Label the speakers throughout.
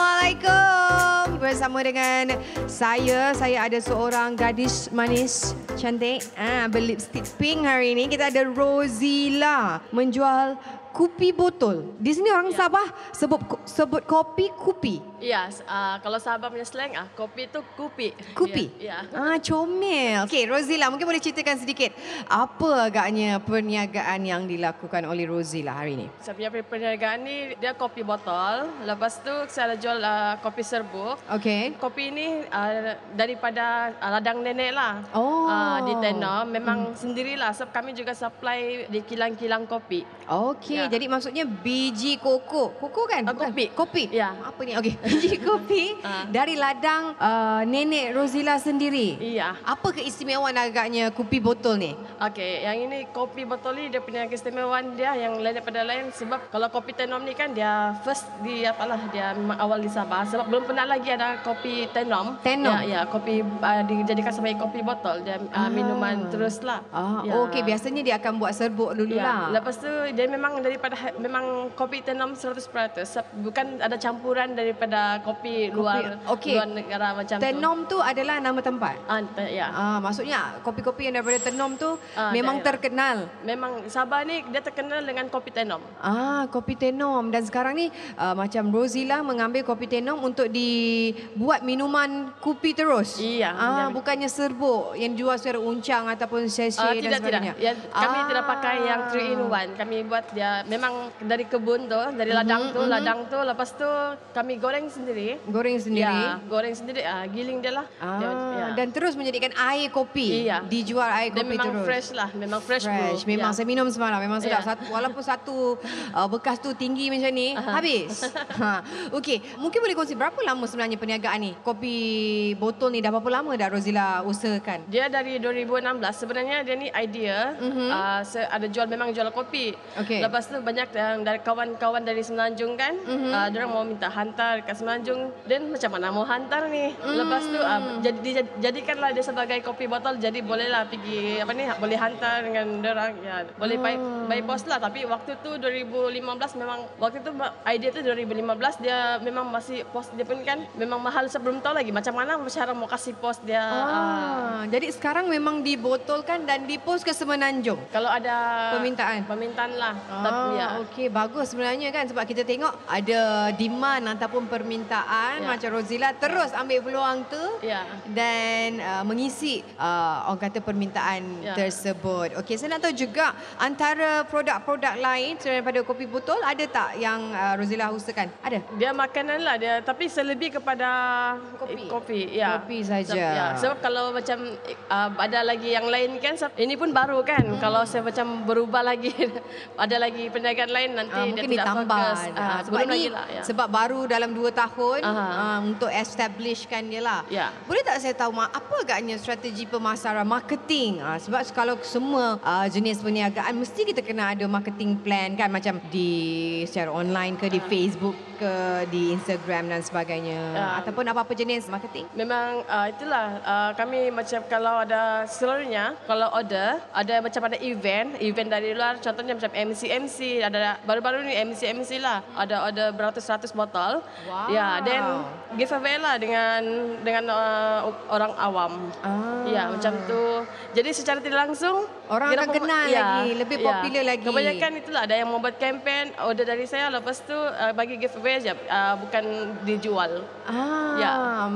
Speaker 1: Assalamualaikum. Bersama dengan saya, saya ada seorang gadis manis, cantik. Ah, berlipstik pink hari ini. Kita ada Rozila menjual kupi botol. Di sini orang Sabah sebut sebut kopi kupi.
Speaker 2: Ya, yes, uh, kalau Sabah punya slang ah, kopi tu kupi.
Speaker 1: Kupi?
Speaker 2: Ya.
Speaker 1: Ah,
Speaker 2: ya.
Speaker 1: comel. Okey, Rozila, mungkin boleh ceritakan sedikit apa agaknya perniagaan yang dilakukan oleh Rozila hari ini?
Speaker 2: Saya punya perniagaan ni dia kopi botol. Lepas tu saya jual uh, kopi serbuk.
Speaker 1: Okey.
Speaker 2: Kopi ni uh, daripada uh, ladang nenek lah.
Speaker 1: Oh. Hmm.
Speaker 2: Uh, di Tenor memang sendirilah sebab kami juga supply di kilang-kilang kopi.
Speaker 1: Okey,
Speaker 2: Ya.
Speaker 1: jadi maksudnya biji koko. Koko kan?
Speaker 2: Ah, kopi.
Speaker 1: Kopi.
Speaker 2: Ya.
Speaker 1: Apa ni? Okey, biji kopi
Speaker 2: Ah.
Speaker 1: dari ladang uh, nenek Rozila sendiri.
Speaker 2: Iya.
Speaker 1: Apa keistimewaan agaknya kopi botol ni?
Speaker 2: Okey, yang ini kopi botol ni dia punya keistimewaan dia yang lain daripada lain sebab kalau kopi tenom ni kan dia first di apalah dia memang awal di Sabah sebab belum pernah lagi ada kopi tenom.
Speaker 1: Tenom?
Speaker 2: Ya, ya kopi uh, dijadikan sebagai kopi botol dia
Speaker 1: Ah.
Speaker 2: uh, minuman terus lah.
Speaker 1: Ah,
Speaker 2: ya.
Speaker 1: okey, biasanya dia akan buat serbuk dulu
Speaker 2: Ya,
Speaker 1: lah.
Speaker 2: lepas tu dia memang daripada memang kopi tenom 100% Seb- bukan ada campuran daripada kopi, luar
Speaker 1: okey.
Speaker 2: luar negara macam tu.
Speaker 1: Tenom tu adalah nama tempat.
Speaker 2: Ah, te- ya.
Speaker 1: Ah, maksudnya kopi-kopi yang daripada Tenom tu
Speaker 2: Ah,
Speaker 1: memang
Speaker 2: daerah.
Speaker 1: terkenal.
Speaker 2: Memang Sabah ni dia terkenal dengan kopi tenom.
Speaker 1: Ah, kopi Tenom dan sekarang ni uh, macam Rozila mengambil kopi Tenom untuk dibuat minuman kopi terus.
Speaker 2: Iya,
Speaker 1: Ah,
Speaker 2: benar.
Speaker 1: bukannya serbuk yang jual secara uncang ataupun sachet dan
Speaker 2: Ah, tidak tidak.
Speaker 1: sebagainya.
Speaker 2: Ya, kami
Speaker 1: Ah.
Speaker 2: tidak pakai yang 3 in 1. Kami buat dia memang dari kebun tu,
Speaker 1: Mhm,
Speaker 2: dari ladang tu, ladang tu lepas tu kami goreng sendiri.
Speaker 1: Goreng sendiri.
Speaker 2: Ya, goreng sendiri ah giling dia lah.
Speaker 1: Ah,
Speaker 2: Dia, ya.
Speaker 1: dan terus menjadikan air kopi.
Speaker 2: Iya.
Speaker 1: Dijual air
Speaker 2: dia
Speaker 1: kopi
Speaker 2: memang
Speaker 1: terus.
Speaker 2: fresh lah, memang fresh,
Speaker 1: Fresh.
Speaker 2: brew.
Speaker 1: Memang
Speaker 2: ya.
Speaker 1: saya minum semalam. Memang sedap.
Speaker 2: Ya.
Speaker 1: Satu, walaupun satu uh, bekas tu tinggi macam ni, habis. ha. Okey, mungkin boleh kongsi berapa lama sebenarnya perniagaan ni? Kopi botol ni dah berapa lama dah Rozila usahakan?
Speaker 2: Dia dari 2016 sebenarnya dia ni idea
Speaker 1: Kan? Mhm.
Speaker 2: uh, ada jual memang jual kopi.
Speaker 1: Okey.
Speaker 2: Lepas tu banyak yang dari kawan-kawan dari Semenanjung kan,
Speaker 1: Mhm.
Speaker 2: uh, orang mau minta hantar ke Semenanjung dan macam mana mau hantar ni.
Speaker 1: Mhm.
Speaker 2: Lepas tu uh, jadi dijad- jadikanlah dia sebagai kopi botol jadi bolehlah pergi apa ni boleh hantar dengan orang ya. Boleh by,
Speaker 1: Oh.
Speaker 2: by post lah tapi waktu tu 2015 memang waktu tu idea tu 2015 dia memang masih post dia pun kan memang mahal sebelum tahu lagi macam mana cara mau kasih post dia. ah.
Speaker 1: Ah, jadi sekarang memang dibotolkan dan dipos ke Semenanjung.
Speaker 2: Kalau ada
Speaker 1: Permintaan?
Speaker 2: Permintaan lah. Tapi ya.
Speaker 1: Ah, okey bagus sebenarnya kan sebab kita tengok ada demand ataupun permintaan
Speaker 2: Ya.
Speaker 1: macam Rozila terus ambil peluang tu
Speaker 2: Ya.
Speaker 1: dan uh, mengisi uh, orang kata permintaan
Speaker 2: Ya.
Speaker 1: tersebut. Okey, saya nak tahu juga antara produk-produk lain selain daripada kopi botol ada tak yang uh, Rozila usahakan? Ada.
Speaker 2: Dia makanan lah dia tapi selebih kepada
Speaker 1: Kopi.
Speaker 2: kopi ya.
Speaker 1: Kopi saja.
Speaker 2: Sebab, ya. Sebab kalau macam uh, ada lagi yang lain kan sebab ini pun baru kan.
Speaker 1: Hmm.
Speaker 2: Kalau saya macam berubah lagi ada lagi perniagaan lain nanti
Speaker 1: Ah,
Speaker 2: dia
Speaker 1: mungkin
Speaker 2: tidak
Speaker 1: ditambah
Speaker 2: fokus.
Speaker 1: Ah,
Speaker 2: Ah,
Speaker 1: sebab
Speaker 2: belum
Speaker 1: ni
Speaker 2: lagi lah, ya.
Speaker 1: sebab baru dalam 2 tahun
Speaker 2: Aha.
Speaker 1: ah, untuk establishkan dia lah.
Speaker 2: Ya.
Speaker 1: Boleh tak saya tahu Mak, apa agaknya strategi pemasaran marketing? Ah, sebab kalau semua ah, jenis perniagaan mesti kita kena ada marketing plan kan macam di secara online ke di Facebook ke di Instagram dan sebagainya
Speaker 2: Ah.
Speaker 1: ataupun apa-apa jenis marketing.
Speaker 2: Memang uh, itulah uh, kami macam kalau ada selalunya kalau order ada macam ada event event dari luar contohnya macam MC MC ada baru-baru ni MC MC lah ada order beratus-ratus botol
Speaker 1: Wow.
Speaker 2: ya then giveaway lah dengan dengan uh, orang awam
Speaker 1: Ah.
Speaker 2: ya macam tu jadi secara tidak langsung
Speaker 1: Orang
Speaker 2: kita
Speaker 1: akan
Speaker 2: pem-
Speaker 1: kenal lagi, lebih popular lagi.
Speaker 2: ya. kebanyakan itulah ada yang membuat kempen order dari saya lepas tu uh, bagi giveaway je uh, bukan dijual
Speaker 1: Ah,
Speaker 2: Ya.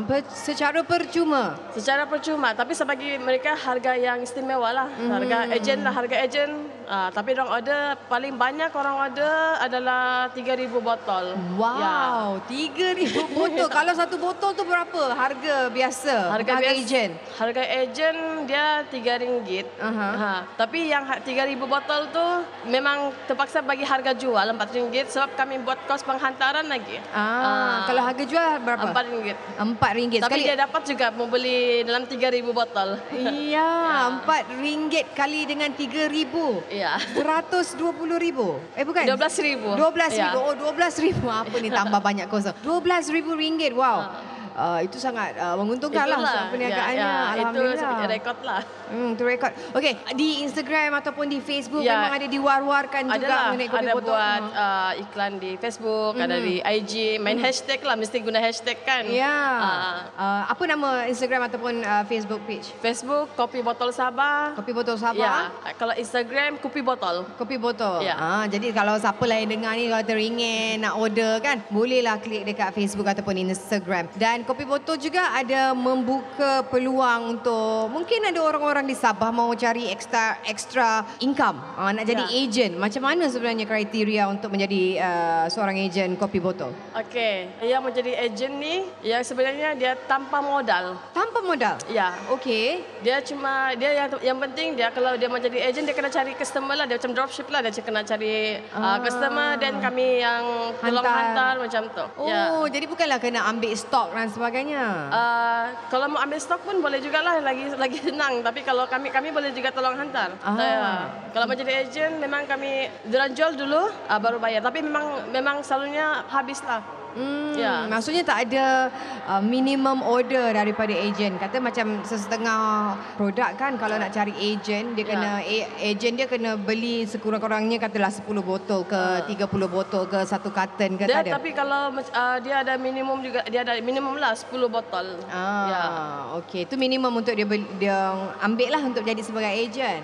Speaker 1: ber- secara percuma.
Speaker 2: Secara percuma tapi sebagai mereka harga yang istimewa lah.
Speaker 1: Hmm.
Speaker 2: Harga ejen lah, harga ejen. Ah, tapi orang order paling banyak orang order adalah 3000 botol. Ya.
Speaker 1: Wow, tiga ribu botol. Kalau satu botol tu berapa harga biasa? Bukan
Speaker 2: bias-
Speaker 1: ejen.
Speaker 2: Harga ejen dia 3 ringgit.
Speaker 1: Aha.
Speaker 2: Ha, tapi yang ha- 3000 botol tu memang terpaksa bagi harga jual 4 ringgit sebab kami buat kos penghantaran lagi.
Speaker 1: Ah, kalau harga jual berapa?
Speaker 2: 4 ringgit.
Speaker 1: Empat ringgit sekali.
Speaker 2: Tapi dia dapat juga membeli dalam 3000 botol.
Speaker 1: Iya, empat ringgit kali dengan tiga ribu.
Speaker 2: Ya.
Speaker 1: Seratus dua puluh ribu. Eh bukan?
Speaker 2: 12,000.
Speaker 1: Dua belas
Speaker 2: Ya.
Speaker 1: ribu. Oh, dua belas ribu. Apa ni tambah banyak kosong. Dua belas ribu ringgit. Wow. uh, itu sangat uh, menguntungkan lah
Speaker 2: Ah. Itulah.
Speaker 1: sebab perniagaannya.
Speaker 2: Ya, ya, itu
Speaker 1: Alhamdulillah.
Speaker 2: sebagai rekod lah.
Speaker 1: Hmm, tu rekod. Okey, di Instagram ataupun di Facebook
Speaker 2: Ya.
Speaker 1: memang ada diwar-warkan juga
Speaker 2: Adalah,
Speaker 1: mengenai kopi
Speaker 2: ada
Speaker 1: botol.
Speaker 2: buat uh, iklan di Facebook, ada di IG, main hashtag lah, mesti guna hashtag kan.
Speaker 1: Mm-hmm. Ya.
Speaker 2: Ah,
Speaker 1: Uh, apa nama Instagram ataupun uh, Facebook page?
Speaker 2: Facebook, kopi botol Sabah.
Speaker 1: Kopi Botol
Speaker 2: Ya,
Speaker 1: Sabah.
Speaker 2: kalau Instagram, kopi botol.
Speaker 1: Kopi botol.
Speaker 2: Ya.
Speaker 1: Ah, jadi kalau siapa lain dengar ni kalau teringin nak order kan, bolehlah klik dekat Facebook ataupun Instagram. Dan kopi botol juga ada membuka peluang untuk mungkin ada orang-orang di Sabah mau cari extra extra income. Ah, nak jadi
Speaker 2: Ya.
Speaker 1: agent. Macam mana sebenarnya kriteria untuk menjadi uh, seorang agent kopi botol?
Speaker 2: Okey, yang menjadi agent ni, yang sebenarnya dia tanpa modal.
Speaker 1: Tanpa modal.
Speaker 2: Ya,
Speaker 1: Okey.
Speaker 2: Dia cuma dia yang yang penting dia kalau dia mau jadi agent dia kena cari customer lah dia macam dropship lah dia kena cari ah. uh, customer dan kami yang tolong
Speaker 1: Hantar.
Speaker 2: hantar, macam tu. Ya.
Speaker 1: Oh, jadi bukanlah kena ambil stok dan sebagainya.
Speaker 2: Uh, kalau mau ambil stok pun boleh jugalah lagi lagi senang tapi kalau kami kami boleh juga tolong hantar.
Speaker 1: Ah.
Speaker 2: Ya. Kalau mau jadi agent memang kami dorang jual dulu uh, baru bayar tapi memang memang selalunya habislah.
Speaker 1: Hmm,
Speaker 2: Ya.
Speaker 1: maksudnya tak ada uh, minimum order daripada ejen. Kata macam sesetengah produk kan kalau nak cari ejen dia kena
Speaker 2: Ya.
Speaker 1: yeah. ejen dia kena beli sekurang-kurangnya katalah 10 botol ke 30 botol ke satu karton ke
Speaker 2: Ah. Dia
Speaker 1: tak ada.
Speaker 2: tapi kalau uh, dia ada minimum juga dia ada minimum lah 10 botol.
Speaker 1: Ah,
Speaker 2: Ya.
Speaker 1: okey. Itu minimum untuk dia beli, dia ambil lah untuk jadi sebagai ejen.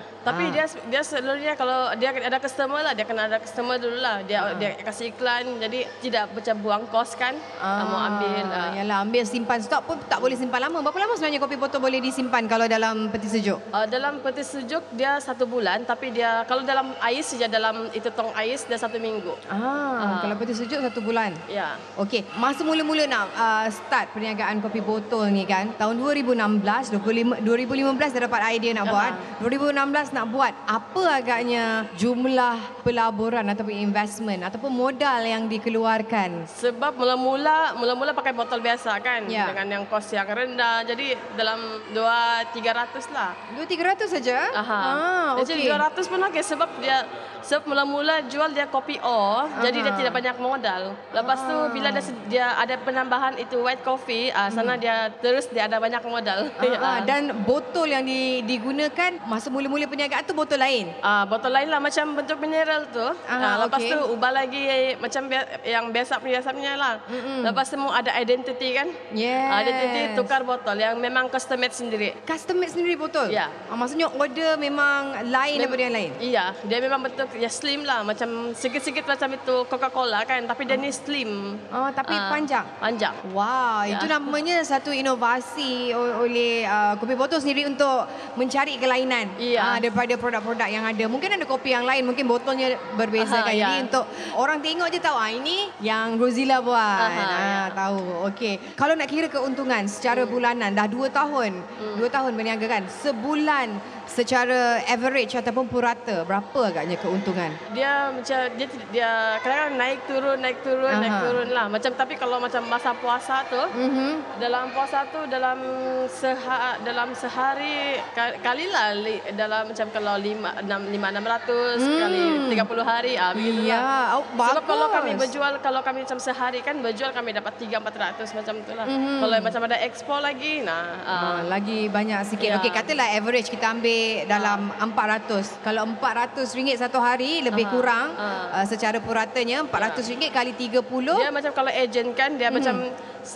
Speaker 1: Ah.
Speaker 2: tapi dia dia selalunya kalau dia ada customer lah, dia kena ada customer dulu lah.
Speaker 1: Ah.
Speaker 2: Dia dia kasih iklan, jadi tidak macam buang kos kan. Ah. Mau ambil. ah.
Speaker 1: Yalah, ambil simpan stok pun tak boleh simpan lama. Berapa lama sebenarnya kopi botol boleh disimpan kalau dalam peti sejuk?
Speaker 2: Ah, dalam peti sejuk dia satu bulan, tapi dia kalau dalam ais saja dalam itu tong ais dia satu minggu.
Speaker 1: Ah, kalau peti sejuk satu bulan.
Speaker 2: Ya.
Speaker 1: Okey, masa mula-mula nak uh, start perniagaan kopi botol ni kan, tahun 2016, 25, 2015 dah dapat idea nak buat, 2016 nak buat, apa agaknya jumlah pelaburan ataupun investment ataupun modal yang dikeluarkan?
Speaker 2: Sebab mula-mula mula-mula pakai botol biasa kan
Speaker 1: Ya.
Speaker 2: dengan yang kos yang rendah. Jadi dalam 2 300 lah.
Speaker 1: 2-300 saja?
Speaker 2: Aha.
Speaker 1: Ah, okey.
Speaker 2: Jadi 200 pun okey sebab dia sebab mula-mula jual dia kopi O, jadi dia tidak banyak modal. Lepas tu
Speaker 1: Ah.
Speaker 2: bila dia, se- dia ada penambahan itu white coffee, ah sana dia terus dia ada banyak modal.
Speaker 1: Hmm.
Speaker 2: Ya.
Speaker 1: Ah, ah, dan botol yang di, digunakan masa mula-mula perniagaan tu botol lain?
Speaker 2: Ah, botol lain lah macam bentuk mineral tu.
Speaker 1: Ah,
Speaker 2: Ah, lepas
Speaker 1: okey.
Speaker 2: tu ubah lagi macam bia- yang biasa biasanya lah. Lepas tu mau ada identity kan?
Speaker 1: Yes.
Speaker 2: Ah, identity tukar botol yang memang custom made sendiri.
Speaker 1: Custom made sendiri botol?
Speaker 2: Ya.
Speaker 1: Ah, maksudnya order memang lain daripada yang lain?
Speaker 2: Iya, dia memang bentuk ya slim lah, macam sikit-sikit macam itu Coca-Cola kan, tapi dia ni slim.
Speaker 1: Oh, tapi
Speaker 2: Ah,
Speaker 1: panjang?
Speaker 2: Panjang.
Speaker 1: Wow, ya. itu namanya satu inovasi o- oleh uh, kopi botol sendiri untuk mencari kelainan
Speaker 2: Iya.
Speaker 1: Ah, daripada produk-produk yang ada. Mungkin ada kopi yang lain, mungkin botolnya berbeza
Speaker 2: Aha,
Speaker 1: kan.
Speaker 2: ya.
Speaker 1: Jadi untuk orang tengok je tahu, ah ini yang Rosila buat.
Speaker 2: Aha, ya.
Speaker 1: ah, tahu. Okey. Kalau nak kira keuntungan secara
Speaker 2: Hmm.
Speaker 1: bulanan dah 2 tahun. 2 tahun berniaga kan. Sebulan secara average ataupun purata berapa agaknya keuntungan?
Speaker 2: Dia macam dia ti- dia kadang-kadang naik turun, naik turun, naik
Speaker 1: Aha.
Speaker 2: turun lah. Macam tapi kalau macam masa puasa tu,
Speaker 1: Mhm.
Speaker 2: dalam puasa tu dalam seha, dalam sehari ka- kali lah li, dalam macam kalau lima enam lima enam ratus
Speaker 1: Hmm.
Speaker 2: kali tiga puluh hari ah begitu
Speaker 1: Ya, oh,
Speaker 2: Sebab kalau kami
Speaker 1: bagus.
Speaker 2: berjual kalau kami macam sehari kan berjual kami dapat 3 400 macam tu lah.
Speaker 1: Mhm.
Speaker 2: Kalau macam ada ekspor lagi nah ah,
Speaker 1: Ah, lagi banyak sikit.
Speaker 2: Ya. Ah.
Speaker 1: Okey, katalah average kita ambil dalam 400. Kalau 400 ringgit satu hari lebih kurang
Speaker 2: Ah.
Speaker 1: uh, secara puratanya 400 ringgit kali 30.
Speaker 2: Dia macam kalau agent kan
Speaker 1: Hmm.
Speaker 2: dia macam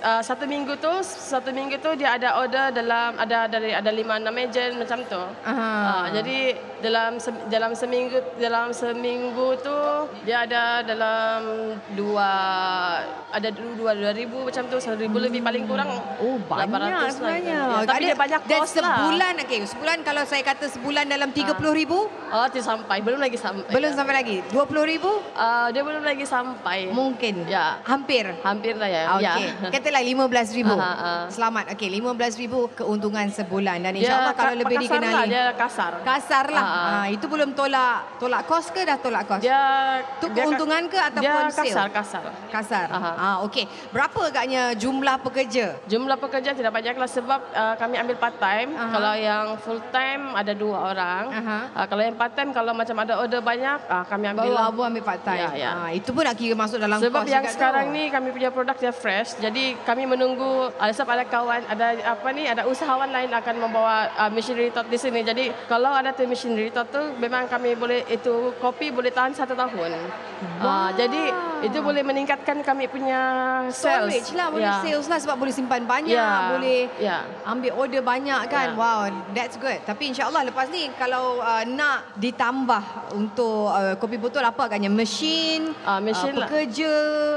Speaker 2: uh, satu minggu tu satu minggu tu dia ada order dalam ada dari ada lima enam agent macam tu.
Speaker 1: Aha.
Speaker 2: Ah, jadi dalam se- dalam seminggu dalam seminggu tu dia ada dalam dua ada dulu dua dua ribu macam tu satu ribu lebih paling kurang.
Speaker 1: Oh
Speaker 2: 800 lah.
Speaker 1: banyak sebenarnya.
Speaker 2: Ya, tapi dia banyak
Speaker 1: dan
Speaker 2: kos lah.
Speaker 1: sebulan okey, sebulan kalau saya kata sebulan dalam 30,000
Speaker 2: Ah. Oh, ya. tidak sampai. Belum lagi sampai.
Speaker 1: belum sampai lagi 20,000
Speaker 2: Ah, dia belum lagi sampai.
Speaker 1: mungkin.
Speaker 2: Ya.
Speaker 1: Hampir.
Speaker 2: Hampir lah ya. Ya.
Speaker 1: Ah, Okey. Katalah 15,000.
Speaker 2: Aha, ah.
Speaker 1: Selamat. Okey, 15,000 keuntungan sebulan dan
Speaker 2: Dia
Speaker 1: insyaallah kalau
Speaker 2: ka-
Speaker 1: lebih
Speaker 2: kasar
Speaker 1: dikenali.
Speaker 2: Lah, dia kasar.
Speaker 1: Kasar lah.
Speaker 2: Ah,
Speaker 1: Ha, itu belum tolak tolak kos ke dah tolak kos?
Speaker 2: Dia
Speaker 1: Itu
Speaker 2: dia ka-
Speaker 1: keuntungan ke
Speaker 2: dia
Speaker 1: ataupun sale?
Speaker 2: kasar kasar.
Speaker 1: Kasar.
Speaker 2: Aha.
Speaker 1: Ah okey. Berapa agaknya jumlah pekerja?
Speaker 2: Jumlah pekerja tidak banyaklah sebab uh, kami ambil part time.
Speaker 1: Aha.
Speaker 2: Kalau yang full time ada dua orang.
Speaker 1: Aha.
Speaker 2: Uh, kalau yang part time kalau macam ada order banyak uh,
Speaker 1: Baru
Speaker 2: kami ambil. lah.
Speaker 1: abu ambil part time.
Speaker 2: Ya, ya.
Speaker 1: Ah, itu pun nak kira masuk dalam
Speaker 2: Sebab
Speaker 1: kos
Speaker 2: yang
Speaker 1: juga tu.
Speaker 2: sekarang ni kami punya produk dia fresh. Jadi Jadi kami menunggu ada sebab ada kawan, ada apa ni, ada usahawan lain akan membawa uh, missionary tot di sini. Jadi kalau ada tu missionary tot tu memang kami boleh itu kopi boleh tahan satu tahun.
Speaker 1: Hmm.
Speaker 2: Uh, jadi itu boleh meningkatkan kami punya
Speaker 1: Ah.
Speaker 2: sales.
Speaker 1: Storage lah, boleh
Speaker 2: Ya.
Speaker 1: sales lah sebab boleh simpan banyak,
Speaker 2: Ya.
Speaker 1: boleh
Speaker 2: Ya.
Speaker 1: ambil order banyak kan.
Speaker 2: Ya.
Speaker 1: Wow, that's good. Tapi insyaAllah lepas ni kalau uh, nak ditambah untuk uh, kopi botol apa agaknya? Mesin, uh,
Speaker 2: Ah, mesin lah.
Speaker 1: pekerja,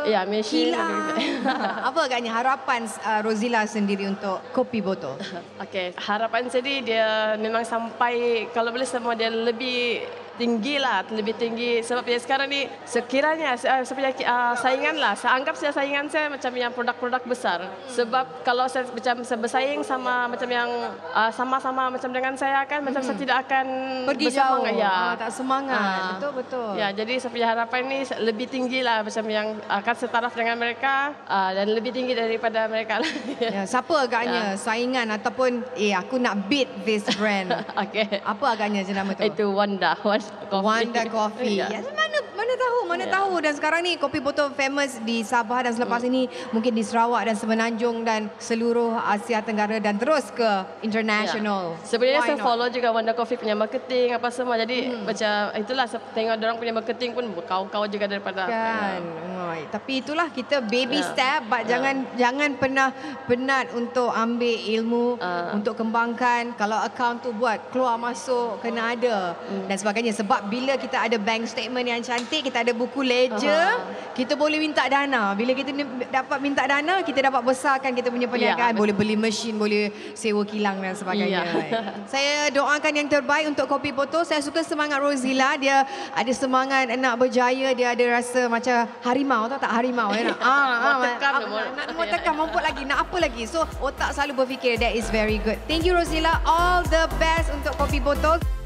Speaker 2: Ya, mesin.
Speaker 1: kilang. apa agaknya harapan uh, Rozila sendiri untuk kopi botol?
Speaker 2: Okey, harapan jadi dia memang sampai kalau boleh semua dia lebih tinggi lah, lebih tinggi sebab yang sekarang ni sekiranya saya, saya punya ah, saingan lah, saya anggap saya saingan saya macam yang produk-produk besar sebab kalau saya macam saya bersaing sama macam yang ah, sama-sama macam dengan saya kan macam saya tidak akan
Speaker 1: Hmm. Pergi
Speaker 2: bersemangat,
Speaker 1: jauh. Ah, tak semangat. Betul, betul.
Speaker 2: Ya, jadi saya punya harapan ni lebih tinggi lah macam yang akan setaraf dengan mereka ah, dan lebih tinggi daripada mereka lah.
Speaker 1: Ya, siapa agaknya saingan ataupun eh aku nak beat this brand.
Speaker 2: Okey.
Speaker 1: apa agaknya jenama tu?
Speaker 2: Itu Wanda, Wanda Coffee.
Speaker 1: Wanda Coffee.
Speaker 2: Ya.
Speaker 1: Ya. mana mana tahu, mana
Speaker 2: Ya. Hmm.
Speaker 1: tahu dan sekarang ni kopi botol famous di Sabah dan selepas ini mungkin di Sarawak dan Semenanjung dan seluruh Asia Tenggara dan terus ke international.
Speaker 2: Ya. Sebenarnya
Speaker 1: Why
Speaker 2: saya
Speaker 1: not? Hmm.
Speaker 2: follow juga Wanda Coffee punya marketing apa semua. Jadi macam itulah saya tengok orang punya marketing pun kau-kau juga daripada
Speaker 1: kan. Oi, tapi itulah kita baby
Speaker 2: Ya.
Speaker 1: step but
Speaker 2: Ya.
Speaker 1: jangan jangan pernah penat untuk ambil ilmu
Speaker 2: Ah.
Speaker 1: untuk kembangkan kalau account tu buat keluar masuk kena ada
Speaker 2: Hmm.
Speaker 1: dan sebagainya sebab bila kita ada bank statement yang cantik kita ada buku ledger kita boleh minta dana bila kita ni- dapat minta dana kita dapat besarkan kita punya perniagaan
Speaker 2: Ya, betul.
Speaker 1: boleh beli mesin boleh sewa kilang dan sebagainya
Speaker 2: Ya.
Speaker 1: saya doakan yang terbaik untuk kopi botol. Saya suka semangat Rozila. Dia ada semangat nak berjaya. Dia ada rasa macam harimau. Tahu tak harimau? Ya, nak, ah, ah,
Speaker 2: Mau tekam
Speaker 1: ah,
Speaker 2: dia,
Speaker 1: nak,
Speaker 2: mau-
Speaker 1: nak mau tekam, mamput lagi. Nak apa lagi? So, otak selalu berfikir. That is very good. Thank you Rozila. All the best untuk kopi botol.